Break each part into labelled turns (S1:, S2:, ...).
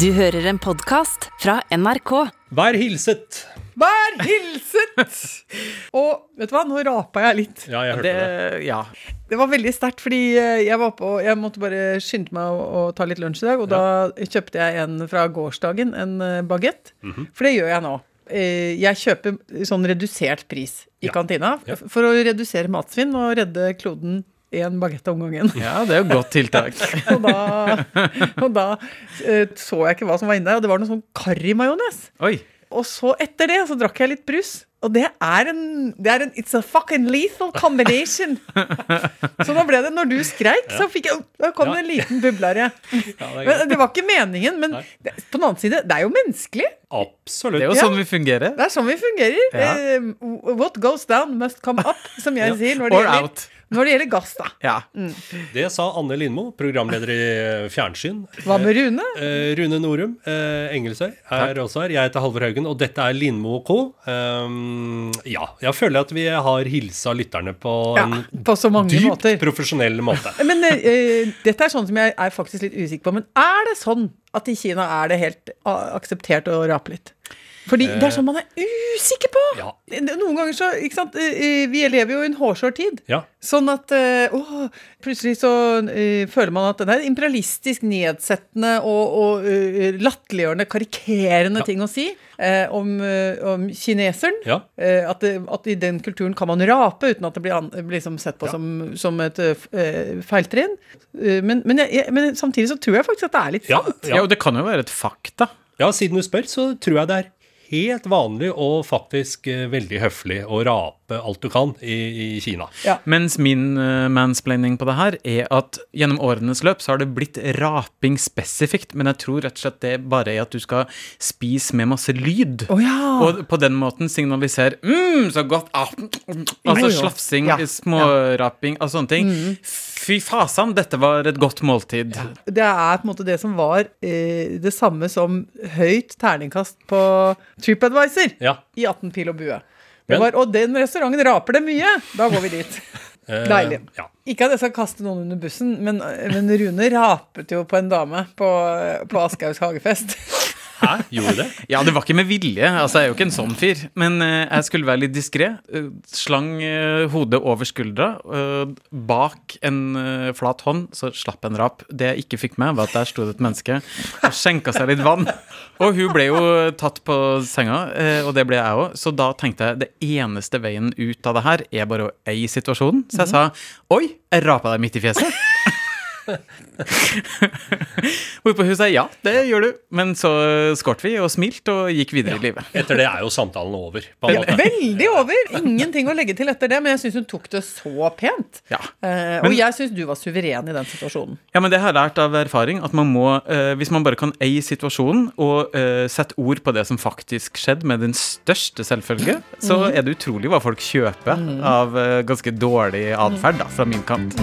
S1: Du hører en podkast fra NRK.
S2: Vær hilset!
S3: Vær hilset! Og vet du hva, nå rapa jeg litt.
S2: Ja, jeg hørte
S3: det. Ja. Det var veldig sterkt, fordi eh, jeg var på Jeg måtte bare skynde meg å, å ta litt lunsj i dag, og da kjøpte jeg en fra gårsdagen, en eh, bagett.
S2: Mhm.
S3: For det gjør jeg nå. Eh, Jeg kjøper sånn redusert pris i
S2: Ja.
S3: kantina
S2: Ja.
S3: f- for å redusere matsvinn og redde kloden én bagett om gangen.
S4: Ja, det er jo et godt tiltak.
S3: Og da, og da eh, så jeg ikke hva som var inni der, og det var noe sånn karrimajones.
S4: Oi.
S3: Og så etter det så drakk jeg litt brus. Og det er en, det er en It's a fucking lethal combination. så nå ble det Når du skreik, så fikk jeg, da kom det en liten bublare.
S2: det er
S3: Men det var ikke meningen, men det, på den annen side, det er jo menneskelig.
S2: Absolutt.
S4: Det er jo
S3: Ja.
S4: sånn vi fungerer.
S3: Det er sånn vi fungerer.
S4: Ja.
S3: Eh, what goes down must come up, som jeg Mm. sier når det,
S4: Or
S3: gjelder,
S4: out.
S3: når det gjelder gass, da.
S4: Ja.
S2: Det sa Anne Lindmo, programleder i eh, fjernsyn.
S3: Hva med Rune?
S2: Eh, Rune Norum, eh, Engelsøy, er også her. Jeg heter Halvor Haugen, og dette er Lindmo og co. Um, ja, jeg føler at vi har hilsa lytterne på
S3: Ja,
S2: en
S3: på så mange
S2: dypt
S3: måter.
S2: profesjonell måte.
S3: Men eh, eh, dette er sånn som jeg er faktisk litt usikker på. Men er det sånn at i Kina er det helt a- akseptert å rape litt? Fordi det er sånn man er usikker på!
S2: Eh.
S3: Eh,
S2: Ja.
S3: Noen ganger så ikke sant? eh, eh, Vi lever jo i en hårsår tid.
S2: Ja.
S3: Sånn at eh, åh, plutselig så eh, føler man at det er imperialistisk nedsettende og, og eh, latterliggjørende, karikerende ting å si eh, om, eh, om kineseren.
S2: Ja.
S3: Eh, at, det, at i den kulturen kan man rape uten at det blir an, blir liksom sett på som, som et eh, f- eh, feiltrinn. Eh, men, men, jeg, jeg, men samtidig så tror jeg faktisk at det er litt
S2: Ja,
S3: sant.
S4: ja,
S2: ja.
S4: og det kan jo være et fakta.
S2: ja, siden du spør, så tror jeg det er helt vanlig og faktisk eh, veldig høflig å rape alt du kan i, i Kina.
S4: Mens min eh, mansplaining på det her er at gjennom årenes løp så har det blitt raping spesifikt, men jeg tror rett og slett det bare er at du skal spise med masse lyd.
S3: Å ja.
S4: Og på den måten signalisere mm, så godt ah, mm, mm», Altså
S3: Jo, jo.
S4: slafsing,
S3: Ja, Mm.
S4: småraping, altså sånne ting. Fy fasan, dette var et godt måltid.
S3: Det er på en måte det som var eh, det samme som høyt terningkast på TripAdvisor
S2: Ja.
S3: i 18 pil og bue. Det
S2: Men-
S3: var, og den restauranten raper det mye! Da går vi dit.
S2: Eh,
S3: Deilig.
S2: Ja.
S3: Ikke at jeg skal kaste noen under bussen, men, men Rune rapet jo på en dame på, på Aschehougs hagefest.
S2: Hæ, gjorde du det?
S4: Ja, det var ikke med vilje. Altså, jeg er jo ikke en sånn fyr. Men eh, jeg skulle være litt diskré. slang eh, hodet over skuldra. eh, bak en eh, flat hånd, så slapp en rap. Det jeg ikke fikk med, var at der sto det et menneske og skjenka seg litt vann. Og hun ble jo eh, tatt på senga, eh, og det ble jeg òg. Så da tenkte jeg det eneste veien ut av det her er bare å eie situasjonen. Så jeg sa oi, jeg rapa deg midt i fjeset. Hvorpå hun sa ja, det gjør du. Men så eh, skåret vi og smilte og gikk videre i livet.
S2: Etter det er jo samtalen over. På en måte.
S3: Veldig over! Ingenting å legge til etter det, men jeg syns hun tok det så pent.
S4: Ja.
S3: Eh, og
S4: Men-
S3: jeg syns du var suveren i den situasjonen.
S4: Ja, men det har jeg lært av erfaring at man må, eh, hvis man bare kan eie situasjonen og eh, sette ord på det som faktisk skjedde, med den største selvfølge, så er det utrolig hva folk kjøper av eh, ganske dårlig atferd, da, fra min kant.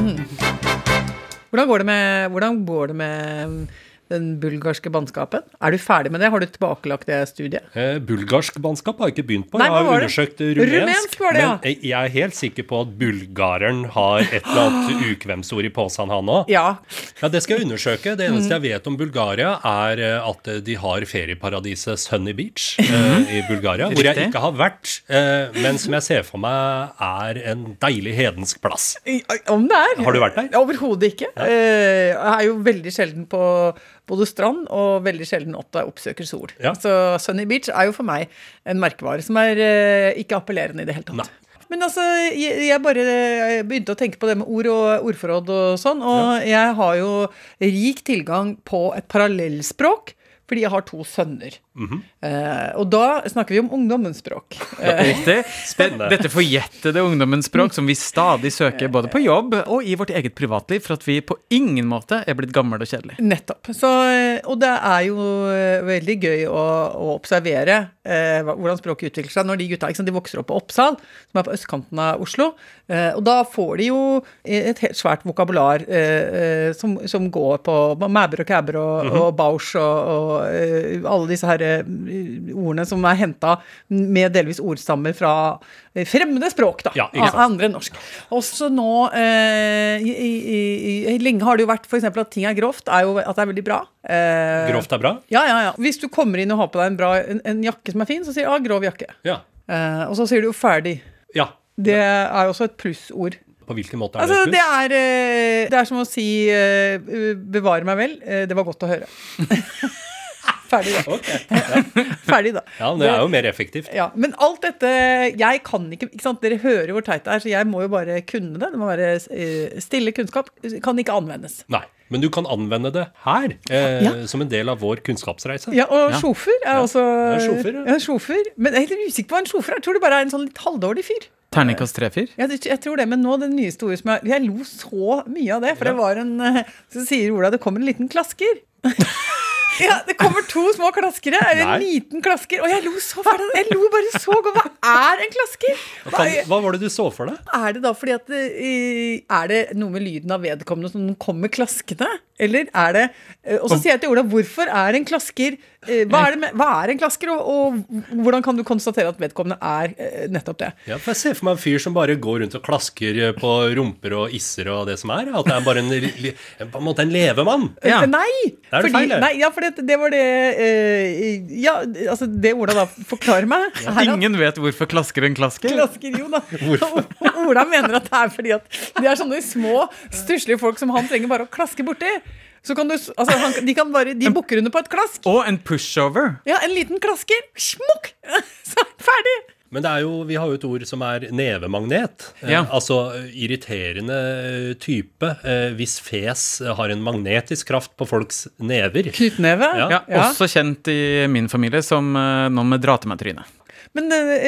S3: Hvordan går det med, hvordan går det med den bulgarske bannskapen? Er du ferdig med det? Har du tilbakelagt det studiet?
S2: Eh, Bulgarsk bannskap har jeg ikke begynt på.
S3: Nei,
S2: jeg har
S3: hva var det?
S2: undersøkt rumensk.
S3: Rumensk var det, ja.
S2: Men jeg- jeg er helt sikker på at bulgareren har et eller annet ukvemsord i posen, han òg.
S3: Ja.
S2: Ja, det skal jeg undersøke. Det eneste jeg vet om Bulgaria, er eh, at de har ferieparadiset Sunny Beach
S3: Mhm.
S2: eh, i Bulgaria. Hvor jeg
S4: Riktig.
S2: ikke har vært, eh, men som jeg ser for meg er en deilig hedensk plass.
S3: I- Om det er?
S2: Har du vært der?
S3: Overhodet ikke. Eh, Jeg er jo veldig sjelden på både strand og veldig sjelden at jeg oppsøker sol.
S2: Ja.
S3: Så Sunny Beach er jo for meg en merkevare som er eh, ikke appellerende i det hele tatt.
S2: Nei.
S3: Men altså, jeg, jeg bare jeg begynte å tenke på det med ord og ordforråd og sånn, og jeg har jo rik tilgang på et parallellspråk. Fordi jeg har to sønner.
S2: Mhm.
S3: eh, og da snakker vi om ungdommens språk.
S4: Ja, Riktig. Det,
S2: Spennende.
S4: dette forjettede ungdommens språk som vi stadig søker både på jobb og i vårt eget privatliv, for at vi på ingen måte er blitt gamle og kjedelige.
S3: Nettopp. Så, eh, og det er jo eh, veldig gøy å, å observere eh, hva- hvordan språket utvikler seg når de gutta ikke sant, de vokser opp på Oppsal, som er på østkanten av Oslo. Eh, og da får de jo et helt svært vokabular
S2: Mhm.
S3: eh, eh, som, som går på mæber og kæber og, og bausch og, og eh, alle disse her bare eh, ordene som er henta med delvis ordstammer fra eh, fremmede språk, da.
S2: Ja, ikke sant.
S3: av Andre enn norsk. Også nå eh, i, i, i, i- Lenge har det jo vært f.eks. at ting er grovt, er jo at det er veldig bra. Eh,
S2: Grovt er bra?
S3: Ja, ja, ja. Hvis du kommer inn og har på deg en, bra, en, en jakke som er fin, så sier du ah, 'grov jakke'.
S2: Ja.
S3: Eh, og så sier du jo 'ferdig'.
S2: ja.
S3: Det er jo også et plussord.
S2: På hvilken måte er
S3: Altså,
S2: det
S3: det
S2: et pluss?
S3: er, eh, det er som å si eh, 'bevare meg vel', eh, det var godt å høre. ferdig, da.
S2: Ok.
S3: Ferdig, da.
S2: Ja, men det er jo mer effektivt.
S3: Ja, Men alt dette Jeg kan ikke, ikke sant? Dere hører jo hvor teit det er, så jeg må jo bare kunne det. Det må være eh, stille kunnskap. Kan ikke anvendes.
S2: Nei. Men du kan anvende det her, eh,
S3: Ja.
S2: som en del av vår kunnskapsreise.
S3: Ja, og sjofer er også
S2: det er sjofer, ja.
S3: ja. sjofer. Men jeg er litt usikker på hva en sjofer er. Jeg tror det bare er en sånn litt halvdårlig fyr.
S4: Terningkast tre-fyr.
S3: Jeg, jeg tror det, men nå det nyeste ordet som jeg Jeg lo så mye av det, for det var en eh, Så sier Ola det kommer en liten klasker. Ja, Det kommer to små klaskere. Eller en
S2: Nei.
S3: liten klasker. Og jeg lo så fælt. Jeg lo bare så godt. Hva er en klasker? Hva
S2: Kan,
S3: er,
S2: hva var det du så for deg?
S3: er det da fordi at det, eh, Er det noe med lyden av vedkommende som kommer klaskende? Eller er det eh, Og så sier jeg til Ola, hvorfor er en klasker eh, Hva er, det med, hva er en klasker, og, og hvordan kan du konstatere at vedkommende er eh, nettopp det?
S2: Ja, for jeg ser for meg en fyr som bare går rundt og klasker eh, på rumper og isser og det som er. At det er bare en, li- li- en- på en måte en levemann.
S4: Ja.
S3: Eh, Nei!
S2: Da er det
S3: fordi,
S2: feil, det.
S3: nei ja, for det, det var det eh, Ja, altså, det Ola da forklarer meg er at
S4: Ingen vet hvorfor klasker en klasker.
S3: Klasker, jo da. Ola mener at det er fordi at det er sånne små, stusslige folk som han trenger bare å klaske borti. Så kan du, s- altså, han, de kan bare, de bukker under på et klask.
S4: Og en pushover.
S3: Ja, en liten klasker. Smukk! Så er det ferdig.
S2: Men det er jo, vi har jo et ord som er nevemagnet. Eh,
S4: Ja.
S2: Altså eh, irriterende eh, type eh, hvis fes eh, har en magnetisk kraft på folks never.
S3: Knyttneve.
S2: Ja.
S4: Ja,
S3: Ja.
S4: Også kjent i min familie som eh, noen med dra til meg-tryne.
S3: Men eh,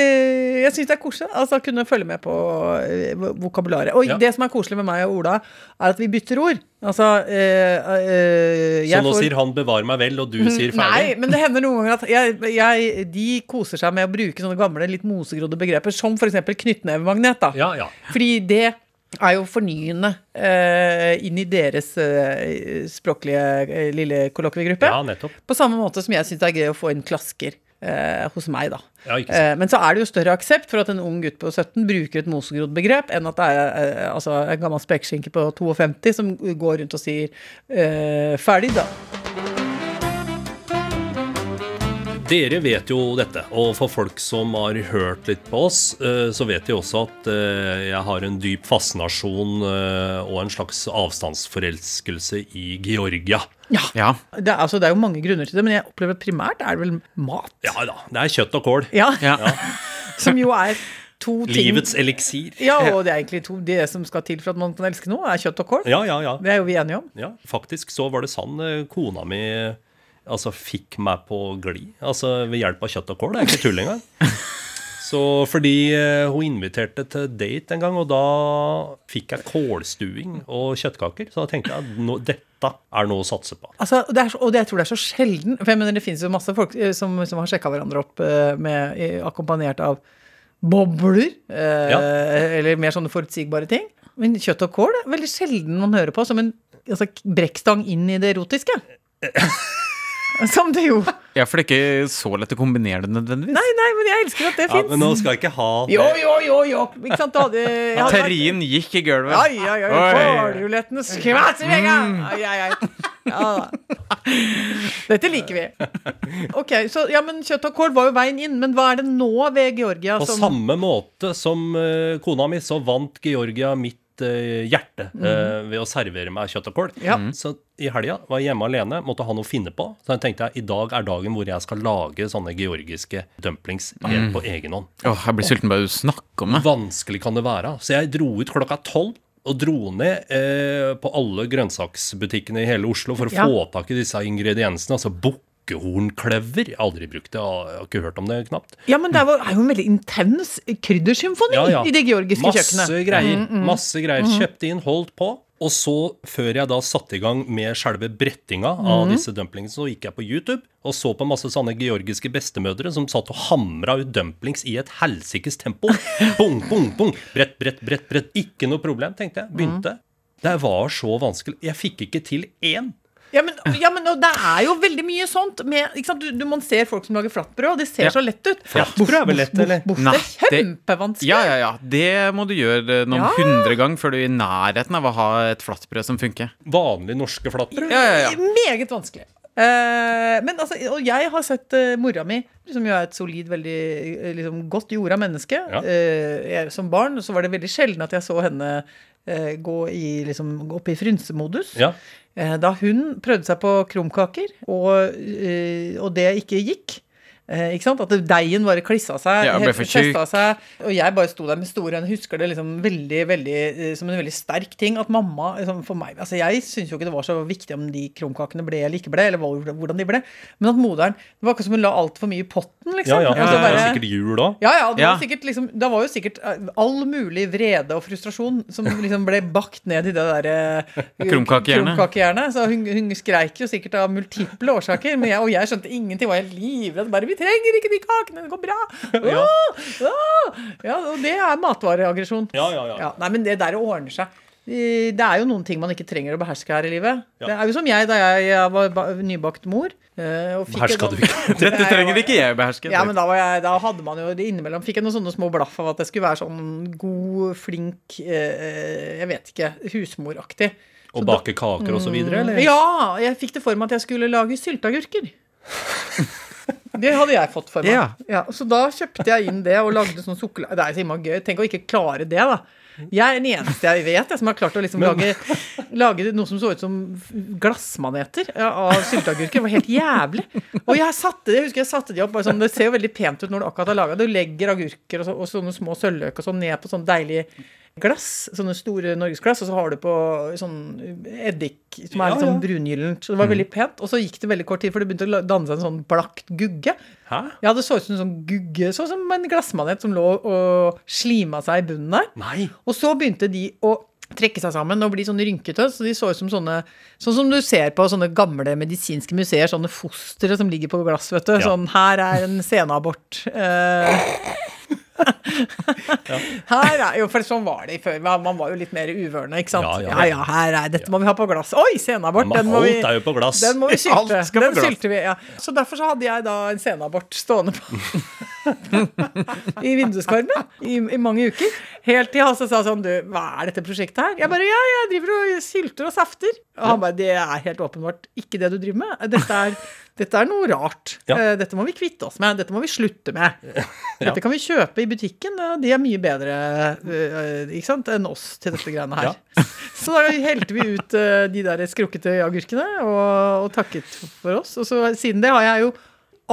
S3: jeg syns det er koselig altså, å kunne følge med på eh, vokabularet. Og
S2: Ja.
S3: det som er koselig med meg og Ola, er at vi bytter ord. Altså eh, eh,
S2: Så nå
S3: jeg får- Mm-hmm.
S2: sier han 'bevar meg vel', og du sier 'ferdig'.
S3: Nei, men det hender noen ganger at jeg, jeg, de koser seg med å bruke sånne gamle, litt mosegrodde begreper, som f.eks. knyttnevemagnet. da.
S2: Ja, ja.
S3: Fordi det er jo fornyende eh, inn i deres eh, språklige eh, lille kollokviegruppe.
S2: Ja, nettopp.
S3: På samme måte som jeg syns det er gøy å få inn klasker eh, hos meg, da.
S2: Ja, ikke sant.
S3: Eh, men så er det jo større aksept for at en ung gutt på 17 bruker et mosegrodd begrep, enn at det er eh, altså, en gammel spekeskinke på 52 som går rundt og sier eh, 'ferdig', da.
S2: Dere vet jo dette, og for folk som har hørt litt på oss, eh, så vet de også at eh, jeg har en dyp fascinasjon eh, og en slags avstandsforelskelse i Georgia.
S4: Ja.
S3: Det er, altså, det er jo mange grunner til det, men jeg opplever primært er det vel mat.
S2: Ja da, det er kjøtt og kål.
S3: Ja,
S4: ja.
S3: Som jo er to ting
S2: Livets eliksir.
S3: Ja, og det er egentlig to Det som skal til for at man kan elske noe, er kjøtt og kål.
S2: Ja, ja, ja.
S3: Det er jo vi enige om.
S2: ja faktisk så var det sann eh, kona mi eh, altså, fikk meg på glid altså, ved hjelp av kjøtt og kål. Det er ikke tull engang. Så fordi eh, hun inviterte til date en gang, og da fikk jeg kålstuing og kjøttkaker. Så da tenkte jeg at nå, dette er noe å satse på.
S3: Altså, og det er, så- og det, jeg tror det er så sjelden For jeg mener, det finnes jo masse folk eh, som, som har sjekka hverandre opp eh, med, eh, akkompagnert av bobler. Eh,
S2: Ja.
S3: Eller mer sånne forutsigbare ting. Men kjøtt og kål er veldig sjelden man hører på som en altså, brekkstang inn i det erotiske. Som det jo Nei,
S4: ja, for det er ikke så lett å kombinere det nødvendigvis.
S3: nei, men jeg elsker at det
S2: Ja,
S3: fins.
S2: men nå skal jeg ikke ha det.
S3: Jo, jo, jo, jo. Ikke sant? Da hadde jeg hadde vært-
S4: Terrien gikk i gulvet.
S3: Ai, ai, ai.
S4: Oi.
S3: Kålrulettene skvatt
S2: Mm.
S3: i veggen! Ai, ai, ai. Ja. Dette liker vi. Ok, så ja, men Kjøtt og kål var jo veien inn, men hva er det nå ved Georgia
S2: På
S3: som
S2: samme måte som eh, kona mi, så vant Georgia mitt eh, hjerte eh, ved å servere meg kjøtt og kål.
S3: Mm. Ja.
S2: Så i helga var jeg hjemme alene, måtte ha noe å finne på. Så jeg tenkte jeg, i dag er dagen hvor jeg skal lage sånne georgiske dumplings helt på egen hånd.
S4: Åh, jeg blir sulten bare du snakker om det.
S2: Vanskelig kan det være. Så jeg dro ut klokka tolv. Og dro ned eh, på alle grønnsaksbutikkene i hele Oslo for å
S3: Ja.
S2: få tak i disse ingrediensene. Altså bukkehornkløver. Jeg har Aldri brukt det, og jeg har ikke hørt om det knapt.
S3: Ja, men det er jo er jo en veldig intens kryddersymfoni
S2: Ja, ja.
S3: i det georgiske
S2: masse
S3: kjøkkenet. Mm,
S2: Greier, Masse greier. Kjøpte inn, holdt på. Og så, før jeg da satte i gang med selve brettinga
S3: Mm.
S2: av disse dumplingene, så gikk jeg på YouTube og så på masse sånne georgiske bestemødre som satt og hamra ut dumplings i et helsikes tempo. Bung, bung, bung. Brett, brett, brett,
S3: Mm.
S2: brett. Ikke noe problem, tenkte jeg. Begynte. Det var så vanskelig. Jeg fikk ikke til én.
S3: Ja, men, ja, men og det er jo veldig mye sånt. Med, ikke sant? Du, du, man ser folk som lager flatbrød, og det ser
S4: Ja.
S3: så lett ut.
S2: Flatbrød er vel lett, eller?
S3: Boff,
S4: Nei,
S3: det er kjempevanskelig.
S4: Ja, ja, ja. Det må du gjøre eh, noen
S3: Ja.
S4: hundre ganger før du er i nærheten av å ha et flatbrød som funker.
S2: Vanlig norske flatbrød.
S4: Ja, ja, ja.
S3: Meget vanskelig. Eh, men altså, og jeg har sett eh, mora mi, som jo er et solid, veldig eh, liksom, godt jorda menneske.
S2: Ja.
S3: Eh, jeg, som barn så var det veldig sjelden at jeg så henne eh, gå, i, liksom, gå opp i frynsemodus.
S2: Ja.
S3: Eh, Da hun prøvde seg på krumkaker, og, eh, og det ikke gikk eh, ikke sant? At det- deigen bare klissa seg,
S4: Ja, ble
S3: helt-
S4: for tjukk.
S3: festa seg. Og jeg bare sto der med store øyne. Husker det liksom veldig, veldig, eh, som en veldig sterk ting. At mamma liksom for meg, altså Jeg syns jo ikke det var så viktig om de krumkakene ble eller ikke ble, eller hvor- hvordan de ble, men at moderen Det var akkurat som hun la altfor mye i potten,
S2: Ja,
S3: liksom.
S2: ja.
S3: Og så
S2: Det var
S3: bare-
S2: sikkert jul òg.
S3: ja, ja, det
S4: Ja.
S3: Var sikkert, liksom, da var jo sikkert eh, all mulig vrede og frustrasjon som liksom ble bakt ned i det derre
S4: Krumkakehjernet.
S3: Så hun, hun skreik jo sikkert av multiple årsaker, men jeg, og jeg skjønte ingenting. Var helt livredd. Bare 'Vi trenger ikke de kakene, det går bra'. Åh,
S4: Ja.
S3: åh. ja, og det er matvareaggresjon.
S2: Ja, ja, ja.
S3: Ja, nei, men det der ordner seg. Eh, Det er jo noen ting man ikke trenger å beherske her i livet. Det er jo som jeg da jeg, jeg var ba- nybakt mor. eh, og
S2: Beherska
S3: fikk et sånt-
S2: du ikke?
S4: Dette
S3: Nei,
S4: trenger
S3: jeg-
S4: ikke jeg å beherske.
S3: ja, men da, var jeg, da hadde man jo det innimellom Fikk jeg noen sånne små blaff av at jeg skulle være sånn god, flink eh, Jeg vet ikke, husmoraktig.
S2: Å bake kaker og så
S3: Mm.
S2: videre, eller?
S3: Ja, jeg fikk det for meg at jeg skulle lage sylteagurker. Det hadde jeg fått for meg.
S4: Ja.
S3: så da kjøpte jeg inn det og lagde sånn sukkerlag... Det er så innmari gøy. Tenk å ikke klare det, da. Jeg er den eneste jeg vet jeg, som har klart å liksom lage, lage noe som så ut som glassmaneter ja, av sylteagurker. Det var helt jævlig. Og jeg satte det, jeg husker jeg satte de opp bare sånn, Det ser jo veldig pent ut når du akkurat har laga det. Du legger agurker og, så, og sånne små sølvløk og sånn ned på sånn deilig glass, sånne store norgesglass, og så har du på sånn eddik som
S2: Ja,
S3: er litt sånn
S2: ja. Mm.
S3: brungyllent. Så det var veldig pent. Og så gikk det veldig kort tid, for det begynte å la- danne seg en sånn blakt gugge.
S2: Hæ?
S3: Ja, det så ut som en sånn gugge, sånn som en glassmanet som lå og slima seg i bunnen der.
S2: Nei.
S3: Og så begynte de å trekke seg sammen og bli sånn rynkete. Så de så ut som sånne Sånn som du ser på sånne gamle medisinske museer. Sånne fostre som ligger på glass, vet du.
S2: Ja.
S3: Sånn her er en senabort. Eh, her er, jo, for sånn var det før. Man man var jo litt mer uvørende, ikke sant?
S2: Ja, ja,
S3: Ja, ja,
S2: ja.
S3: her er Dette må vi ha på glass. Oi, senabort!
S2: Men
S3: Den må vi
S2: alt er jo på glass.
S3: den må vi
S4: Alt
S3: sylte.
S4: skal på
S3: Den
S4: glass.
S3: sylte vi, ja. Så derfor så hadde jeg da en senabort stående på i vinduskarmen i, i mange uker. Helt til Hasse sa sånn Du, hva er dette prosjektet her? Jeg bare Ja, jeg driver og sylter og safter. Og han bare Det er helt åpenbart ikke det du driver med. Dette er, dette er noe rart.
S2: Ja.
S3: Eh, Dette må vi kvitte oss med. Dette må vi slutte med. Dette kan vi kjøpe i butikken. og De er mye bedre eh, ikke sant, enn oss til dette greiene her.
S2: Ja.
S3: Så da helte vi ut eh, de der skrukkete agurkene og, og takket for oss. Og så siden det har jeg jo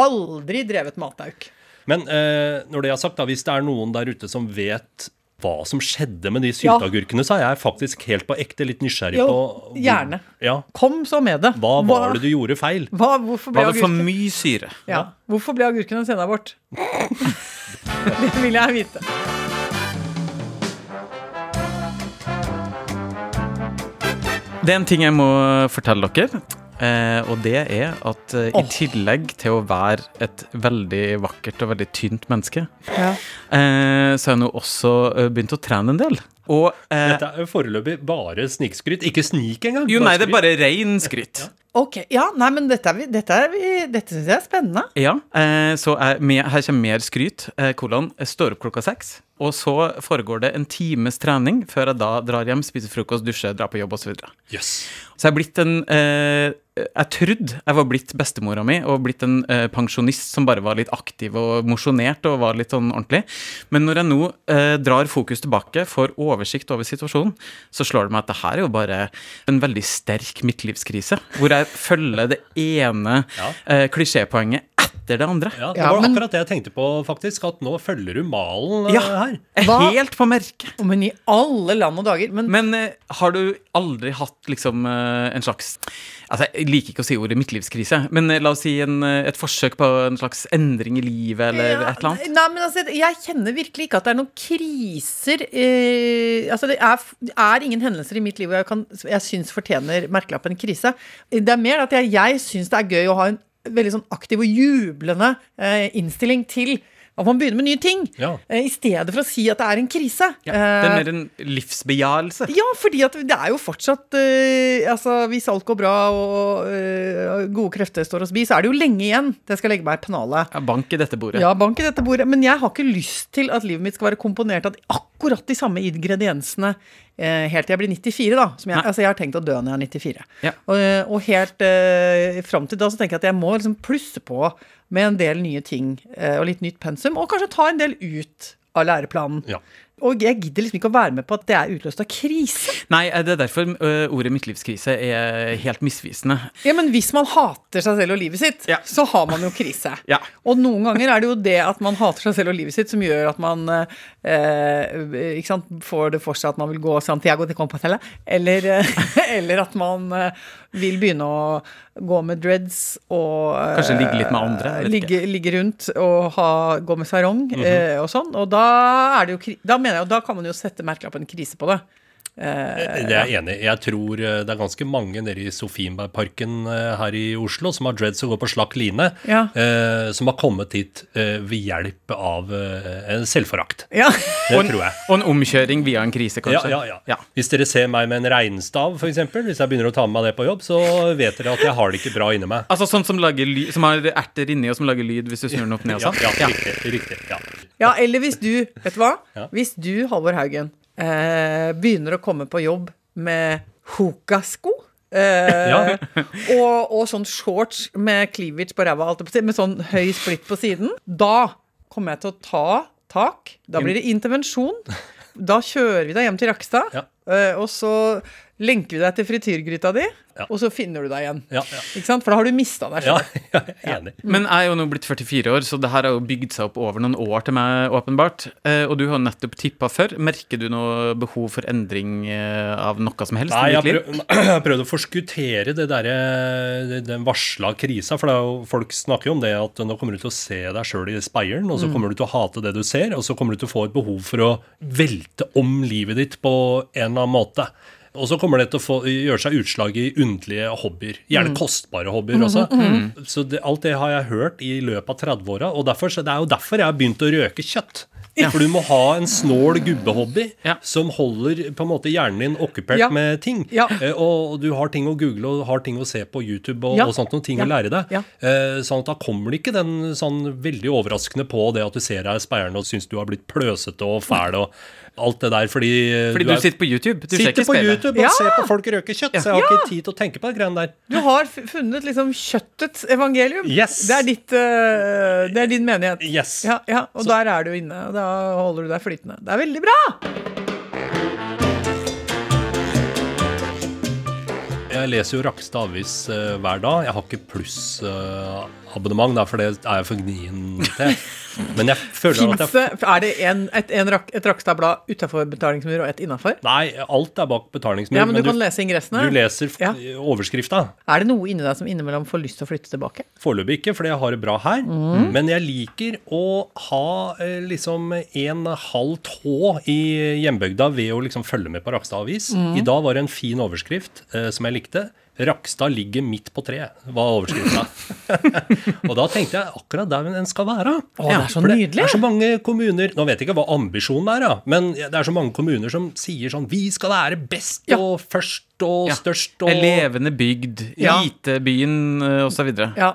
S3: aldri drevet matauk.
S2: Men eh, når det er sagt, da, hvis det er noen der ute som vet hva som skjedde med de sylteagurkene, så er jeg faktisk helt på ekte litt nysgjerrig
S3: Jo,
S2: på
S3: gjerne.
S2: Ja,
S3: Kom så med det.
S2: hva var det du gjorde feil?
S3: hva, hvorfor ble
S4: Var det for
S3: agurken,
S4: mye syre?
S3: ja. hvorfor ble agurken en senabort? det vil jeg vite.
S4: Det er en ting jeg må fortelle dere. eh, Og det er at eh, i
S3: Åh.
S4: tillegg til å være et veldig vakkert og veldig tynt menneske,
S3: Ja.
S4: eh, så har jeg nå også eh, begynt å trene en del. Og eh,
S2: Dette er jo foreløpig bare snikskryt. Ikke snik engang.
S4: Jo, nei, det
S2: skryt.
S4: er bare rein skryt.
S3: Ok, ja, nei, men dette, er vi- dette, er vi- dette syns jeg er spennende.
S4: Ja, eh, så er med, her kommer mer skryt. Eh, Hvordan jeg står opp klokka seks, og så foregår det en times trening før jeg da drar hjem, spiser frokost, dusjer, drar på jobb osv. Så, videre.
S2: Jøss.
S4: så jeg er blitt en eh, Jeg trodde jeg var blitt bestemora mi og blitt en eh, pensjonist som bare var litt aktiv og mosjonert og var litt sånn ordentlig. Men når jeg nå eh, drar fokus tilbake, får oversikt over situasjonen, så slår det meg at det her er jo bare en veldig sterk midtlivskrise, hvor jeg følger det ene
S2: Ja.
S4: eh, klisjépoenget etter det andre.
S2: Ja, det
S3: Ja,
S2: var
S3: men-
S2: akkurat det jeg tenkte på, faktisk. At nå følger du malen eh,
S4: Ja.
S2: her.
S4: Jeg er
S3: Hva-
S4: helt på merket.
S3: Å, Men i alle land og dager. Men,
S4: Men eh, har du aldri hatt liksom eh, en slags Altså, jeg liker ikke å si ordet midtlivskrise, men eh, la oss si en, eh, et forsøk på en slags endring i livet eller
S3: Ja,
S4: et eller annet.
S3: Nei, men altså, jeg kjenner virkelig ikke at det er noen kriser eh, Altså, det er, det er ingen hendelser i mitt liv hvor jeg, kan- jeg syns fortjener merkelappen krise. Det er mer at jeg, jeg syns det er gøy å ha en veldig sånn aktiv og jublende eh, innstilling til At man begynner med nye ting.
S2: Ja.
S3: eh, I stedet for å si at det er en krise.
S4: Ja, det er
S3: Eh,
S4: mer en livsbejaelse.
S3: ja, fordi at det er jo fortsatt eh, Altså, hvis alt går bra og eh, gode krefter står oss bi, så er det jo lenge igjen til jeg skal legge meg i pennalet.
S4: Ja, bank i dette bordet.
S3: Ja, bank i dette bordet. Men jeg har ikke lyst til at livet mitt skal være komponert av de- akkurat de samme ingrediensene eh, helt til jeg blir 94, da. Som jeg,
S4: Nei.
S3: altså, jeg har tenkt å dø når jeg er 94.
S4: Ja.
S3: Og, eh, og helt eh, fram til da så tenker jeg at jeg må liksom plusse på med en del nye ting eh, og litt nytt pensum, og kanskje ta en del ut av læreplanen.
S2: Ja.
S3: Og jeg gidder liksom ikke å være med på at det er utløst av krise.
S4: Nei, eh, det er derfor eh, ordet midtlivskrise er helt misvisende.
S3: Ja, men hvis man hater seg selv og livet sitt,
S4: Ja.
S3: så har man jo krise.
S4: Ja.
S3: Og noen ganger er det jo det at man hater seg selv og livet sitt som gjør at man eh, eh, ikke sant, får det for seg at man vil gå Santiago de Compostela, eller, eh, eller at man eh, vil begynne å gå med dreads og eh,
S4: Kanskje ligge litt med andre, jeg vet Mhm.
S3: Ligge, ligge rundt og ha, gå med sarong eh, og sånn. Og da er det jo kri- Da mener jeg jo, da kan man jo sette merkelappen krise på det.
S2: Det er jeg enig i. Jeg tror eh, det er ganske mange nede i Sofienbergparken eh, her i Oslo som har dreads og går på slakk line,
S3: Ja.
S2: eh, som har kommet hit eh, ved hjelp av eh, en selvforakt.
S3: Ja.
S2: Det tror jeg.
S4: Og en omkjøring via en krise,
S2: Ja,
S4: kanskje.
S2: ja, ja. Hvis dere ser meg med en regnstav, f.eks., hvis jeg begynner å ta med meg det på jobb, så vet dere at jeg har det ikke bra inni meg.
S4: Altså sånn som, lager ly som har erter inni og som lager lyd hvis du snur den opp ned og
S2: Ja,
S4: sånn?
S2: ja,
S4: Ja.
S2: riktig. riktig ja.
S3: Ja, eller hvis du, vet du hva?
S2: Ja.
S3: Hvis du, Halvor Haugen, eh, begynner å komme på jobb med hoka-sko eh,
S2: Ja.
S3: og, og sånn shorts med cleavage på ræva, alt det på siden, med sånn høy splitt på siden, da kommer jeg til å ta tak. Da blir det intervensjon. Da kjører vi deg hjem til Rakstad,
S2: Ja.
S3: eh, og så lenker vi deg til frityrgryta di,
S2: Ja.
S3: og så finner du deg igjen.
S2: Ja, ja.
S3: Ikke sant? For da har du mista deg
S2: Ja,
S3: sjøl.
S2: jeg er enig.
S4: Men jeg er jo nå blitt 44 år, så det her har jo bygd seg opp over noen år til meg, åpenbart. Eh, og du har nettopp tippa før. Merker du noe behov for endring eh, av noe som helst
S2: Nei,
S4: i
S2: jeg
S4: ditt liv?
S2: prøv- jeg prøvde å forskuttere det derre- det- den varsla krisa. For det er jo, folk snakker jo om det at nå kommer du til å se deg sjøl i speilen, og så kommer du til å hate det du ser, og så kommer du til å få et behov for å velte om livet ditt på en eller annen måte. Og så kommer det til å få, gjøre seg utslag i underlige hobbyer. Gjerne kostbare hobbyer også. Så det, alt det har jeg hørt i løpet av 30-åra, og derfor, så det er jo derfor jeg har begynt å røke kjøtt. For du må ha en snål gubbehobby
S4: Ja.
S2: som holder på en måte hjernen din okkupert
S3: Ja.
S2: med ting.
S3: Ja.
S2: Eh, Og du har ting å google og har ting å se på YouTube og,
S3: Ja.
S2: og sånt, noen ting
S3: Ja.
S2: å lære deg.
S3: Ja.
S2: Eh, Sånn at da kommer det ikke den sånn veldig overraskende på det at du ser deg i speilet og syns du har blitt pløsete og fæl og alt det der, fordi, eh,
S4: Fordi du,
S2: er-
S4: sitter på YouTube. Du ser
S2: sitter
S4: ikke
S2: på
S4: speilet.
S2: YouTube og
S3: Ja.
S2: ser på folk røke kjøtt, så jeg har ikke tid til å tenke på de greiene der.
S3: Du har f- funnet liksom kjøttets evangelium.
S2: Yes.
S3: Det, er ditt, eh, det er din menighet.
S2: Yes.
S3: Ja, ja, og der er du inne. og Da holder du deg flytende. Det er veldig bra!
S2: Jeg leser jo Rakstad Avis eh, hver dag. Jeg har ikke plussabonnement, uh, for det er jeg for gnien til. Men jeg føler at
S3: Fins
S2: jeg
S3: det Er det en, et, en rak, et Rakstad-blad utafor betalingsmur og et innafor?
S2: Nei, alt er bak betalingsmur.
S3: Ja, men du, kan
S2: du,
S3: lese ingressene.
S2: du leser f-
S3: Ja.
S2: overskrifta.
S3: Er det noe inni deg som innimellom får lyst til å flytte tilbake?
S2: Foreløpig ikke, fordi jeg har det bra her.
S3: Mm.
S2: Men jeg liker å ha eh, liksom en halv tå i hjembygda ved å liksom følge med på Rakstad Avis.
S3: Mm.
S2: I dag var det en fin overskrift eh, som jeg likte. 'Rakstad ligger midt på treet', var overskrifta. og da tenkte jeg akkurat der den skal være.
S3: Å, det er så
S2: For Det
S3: nydelig.
S2: er så mange kommuner Nå vet jeg ikke hva ambisjonen er, da, men det er så mange kommuner som sier sånn 'Vi skal være best
S3: Ja.
S2: og først og
S4: Ja.
S2: størst og
S4: En levende bygd,
S3: Ja.
S4: IT-byen osv. Ja.
S3: Ja.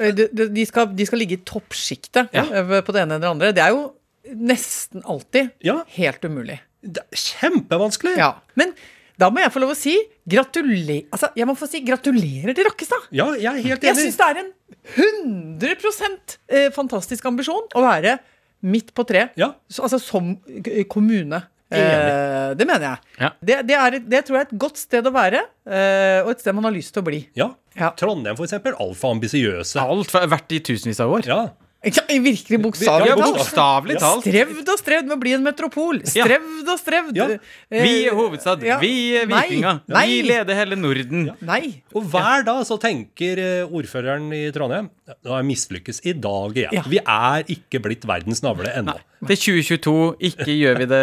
S3: Eh, De, de, de, skal, de skal ligge i toppsjiktet
S4: Ja.
S3: eh, på det ene eller det andre. Det er jo nesten alltid
S2: Ja.
S3: helt umulig.
S2: Det er kjempevanskelig!
S3: Ja, men da må jeg få lov å si gratulerer altså, Jeg må få si gratulerer til Rakkestad!
S2: Ja, jeg er helt
S3: Jeg
S2: enig.
S3: syns det er en 100 eh, fantastisk ambisjon å være midt på tre.
S2: Ja.
S3: Så, altså som eh, kommune. Eh, det mener jeg.
S4: Ja.
S3: Det, det, er, et- det tror jeg er et godt sted å være, eh, og et sted man har lyst til å bli.
S2: Ja.
S3: Ja.
S2: Trondheim, for eksempel. Altfor ambisiøse.
S4: Alt har vært i tusenvis av år.
S2: Ja.
S3: Ikke sant? Virkelig bokstavelig
S2: Ja,
S3: talt.
S4: Bokstavelig talt.
S3: Strevd og strevd med å bli en metropol. Strevd og strevd.
S2: Ja.
S3: Eh,
S4: Vi er hovedstad.
S3: ja.
S4: Vi er
S3: Nei.
S4: vikinger.
S3: Nei.
S4: Vi leder hele Norden.
S3: Nei.
S2: Og hver dag så tenker eh, ordføreren i Trondheim Nå har jeg mislykkes i dag igjen.
S3: Ja.
S2: Vi er ikke blitt verdens navle ennå.
S4: Det er 2022. Ikke gjør vi det.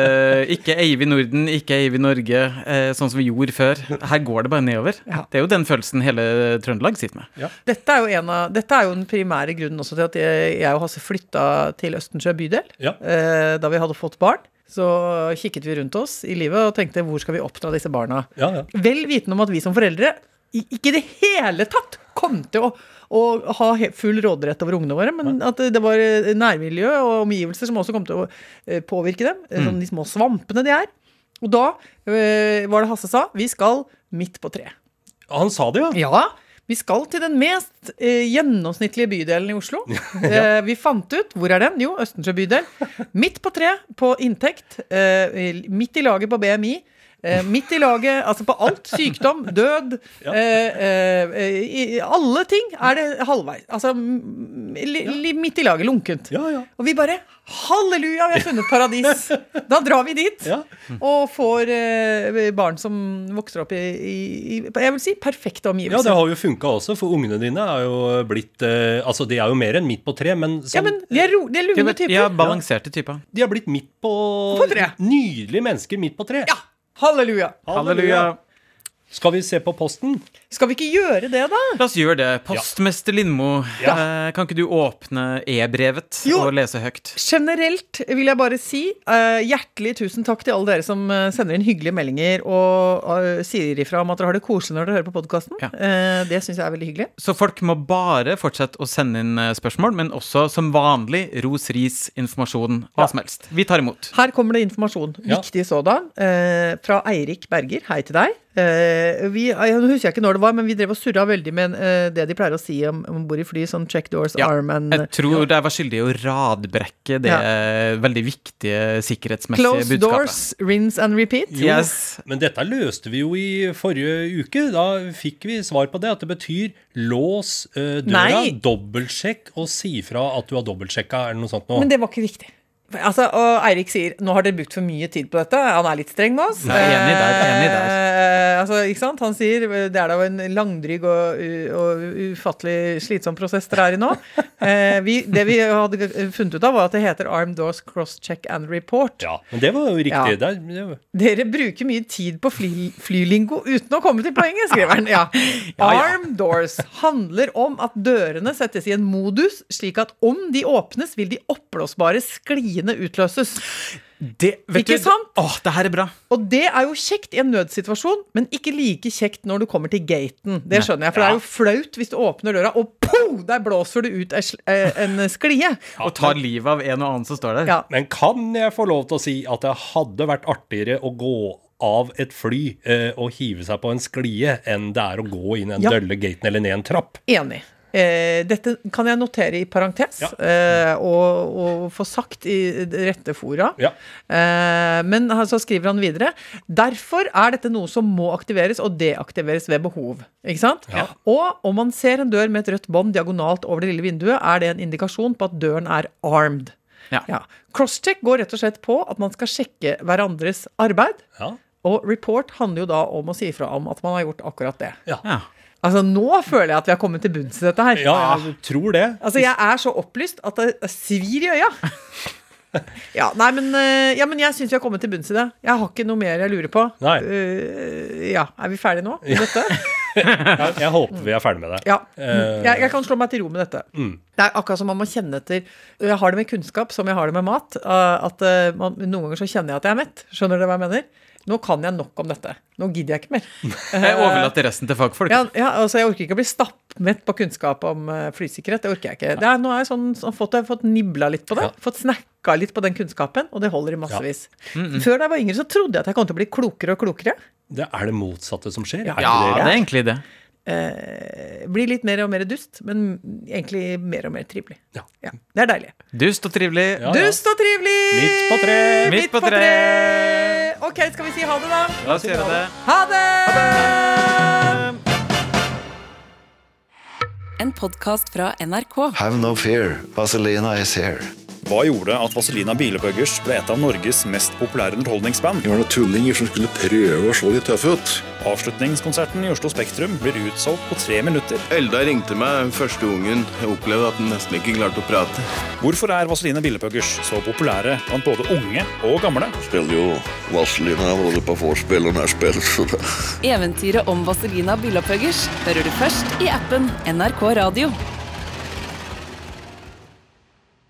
S4: Ikke eier vi Norden, ikke eier vi Norge, eh, sånn som vi gjorde før. Her går det bare nedover.
S3: Ja.
S4: Det er jo den følelsen hele Trøndelag sitter med.
S3: Dette er, jo en av, dette er jo den primære grunnen også til at jeg, jeg og Hasse flytta til Østensjø bydel
S2: Ja.
S3: eh, da vi hadde fått barn. Så kikket vi rundt oss i livet og tenkte hvor skal vi oppdra disse barna?
S2: Ja, ja.
S3: Vel vitende om at vi som foreldre i- ikke i det hele tatt kom til å, å ha he- full råderett over ungene våre, men at det var eh, nærmiljø og omgivelser som også kom til å eh, påvirke dem. eh, Sånn de små svampene de er. Og da eh, var det Hasse sa vi skal midt på treet.
S2: Han sa det, ja.
S3: Ja, vi skal til den mest eh, gjennomsnittlige bydelen i Oslo. Eh, vi fant ut, hvor er den? Jo, Østensjø bydel. Midt på tre, på inntekt. Eh, midt i laget på BMI. Eh, midt i laget, altså på alt. Sykdom, død.
S2: Ja.
S3: Eh, eh, i, i alle ting er det halvveis. Altså m- li, li, midt i laget, lunkent.
S2: Ja, ja.
S3: Og vi bare Halleluja, vi har funnet paradis! Da drar vi dit.
S2: Ja.
S3: Og får eh, barn som vokser opp i, i, i jeg vil si, perfekte
S2: Ja, det
S3: omgivelser.
S2: har jo funka også, for ungene dine er jo blitt eh, Altså, de er jo mer enn midt på tre, men, sånn,
S3: Ja, men de er, ro, de er lune typer.
S4: Ja, balanserte typer.
S2: de er blitt midt på
S3: På tre.
S2: Nydelige mennesker midt på tre.
S3: Ja, Halleluja!
S4: Halleluja.
S2: Skal vi se på posten?
S3: Skal vi ikke gjøre det, da?
S4: La oss gjøre det. Postmester Lindmo, eh, kan ikke du åpne e-brevet
S3: Jo.
S4: og lese høyt?
S3: Generelt vil jeg bare si eh, hjertelig tusen takk til alle dere som eh, sender inn hyggelige meldinger og eh, sier ifra om at dere har det koselig når dere hører på podkasten.
S4: Ja.
S3: det syns jeg er veldig hyggelig.
S4: Så folk må bare fortsette å sende inn eh, spørsmål, men også som vanlig ros, ris, informasjon, hva som helst. Vi tar imot.
S3: Her kommer det informasjon,
S2: Ja.
S3: viktig sådan, eh, fra Eirik Berger. Hei til deg. Eh, vi, jeg husker ikke når det var, men vi drev og surra veldig med eh, det de pleier å si om, om bord i fly, sånn check doors,
S4: Ja,
S3: arm and
S4: Jeg tror jeg var skyldig i å radbrekke det
S3: Ja.
S4: veldig viktige sikkerhetsmessige
S3: Close
S4: budskapet.
S3: doors, rinse and repeat.
S2: Jo,
S4: Yes.
S2: Men dette løste vi jo i forrige uke. Da fikk vi svar på det, at det betyr lås eh, døra,
S3: Nei.
S2: dobbeltsjekk og si fra at du har dobbeltsjekka, eller noe sånt nå.
S3: Men det var ikke riktig. Altså, og Eirik sier nå har dere brukt for mye tid på dette. Han er litt streng med oss.
S4: Nei, enig der, enig der.
S3: Eh, altså, ikke sant? Han sier eh, det er da jo en langdryg og, u- og ufattelig slitsom prosess dere er i nå. Eh, vi, det vi hadde funnet ut av, var at det heter Armed Doors Cross-Check and Report.
S2: Ja, men det var jo riktig.
S3: Ja.
S2: Det er- det er-
S3: Dere bruker mye tid på fly, flylingo uten å komme til poenget, skriver han. Ja. Arm doors handler om at dørene settes i en modus, slik at om de åpnes, vil de oppblåsbare skliene utløses.
S4: Det, vet
S3: Ikke
S4: du-
S3: sant?
S4: Åh, det her er bra.
S3: Og det er jo kjekt i en nødsituasjon, men ikke like kjekt når du kommer til gaten. Det skjønner jeg, for det er jo flaut hvis du åpner døra, og po, der blåser det ut ei sl- eh, en sklie.
S4: Og tar livet av en og annen som står der.
S3: Ja.
S2: Men kan jeg få lov til å si at det hadde vært artigere å gå av et fly eh, og hive seg på en sklie enn det er å gå inn en
S3: Ja.
S2: dølle gaten eller ned en trapp?
S3: Enig. Eh, dette kan jeg notere i parentes
S2: Ja.
S3: eh, og, og få sagt i det rette fora.
S2: Ja.
S3: Eh, men han- så skriver han videre Derfor er dette noe som må aktiveres og deaktiveres ved behov. Ikke sant?
S2: Ja.
S3: Og om man ser en dør med et rødt bånd diagonalt over det lille vinduet, er det en indikasjon på at døren er armed.
S4: Ja.
S3: Ja. Crosscheck går rett og slett på at man skal sjekke hverandres arbeid.
S2: Ja.
S3: Og report handler jo da om å si ifra om at man har gjort akkurat det.
S4: Ja.
S3: Altså Nå føler jeg at vi har kommet til bunns i dette her.
S2: ja, jeg tror det.
S3: Altså, jeg er så opplyst at det svir i øya. Ja, nei, men, eh, ja, men jeg syns vi har kommet til bunns i det. Jeg har ikke noe mer jeg lurer på.
S2: Nei.
S3: Eh, ja, Er vi ferdige nå med dette?
S2: Jeg, jeg håper vi er ferdig med det.
S3: Ja. Mm.
S2: Eh. Mm.
S3: Jeg, jeg kan slå meg til ro med dette. Det er akkurat som man må kjenne etter Jeg har det med kunnskap som jeg har det med mat. eh, At eh, man, Noen ganger så kjenner jeg at jeg er mett. Skjønner dere hva jeg mener? Nå kan jeg nok om dette. Nå gidder jeg ikke mer.
S4: Jeg overlater resten til fagfolk.
S3: Eh, Ja, ja, altså Jeg orker ikke å bli stappmett på kunnskap om eh, flysikkerhet. Det orker jeg ikke. Det er, nå har jeg sånn, sånn fått, jeg har fått nibla litt på det.
S2: Ja.
S3: Fått snakka litt på den kunnskapen, og det holder i massevis.
S2: Mm,
S3: Før da jeg var yngre, så trodde jeg at jeg kom til å bli klokere og klokere.
S2: Det er det motsatte som skjer.
S4: Ja,
S2: er
S4: det
S2: ikke
S4: er egentlig det.
S3: Eh, blir litt mer og mer dust, men egentlig mer og mer trivelig.
S2: Ja.
S3: Ja, Det er deilig.
S4: Dust og trivelig.
S2: Ja, ja.
S3: Dust og trivelig!
S2: Midt på tre!
S4: Midt på tre!
S3: Ok, skal vi si ha det, da?
S4: La oss gjøre det.
S3: Ha det!
S1: En podkast fra NRK.
S5: Have no fear, Vaselina is here.
S6: Hva gjorde at Vazelina Bilebøggers ble et av Norges mest populære underholdningsband?
S7: Vi var noen tullinger som skulle prøve å slå litt tøffe ut.
S6: Avslutningskonserten i Oslo Spektrum blir utsolgt på tre minutter.
S8: Elda ringte meg første ungen. Jeg opplevde at den nesten ikke klarte å prate.
S6: Hvorfor er Vazelina Bilepuggers så populære blant både unge og gamle?
S7: Spiller jo Vazelina både på vorspiel og nærspill, så det
S1: Eventyret om Vazelina Bilopphøggers hører du først i appen NRK Radio.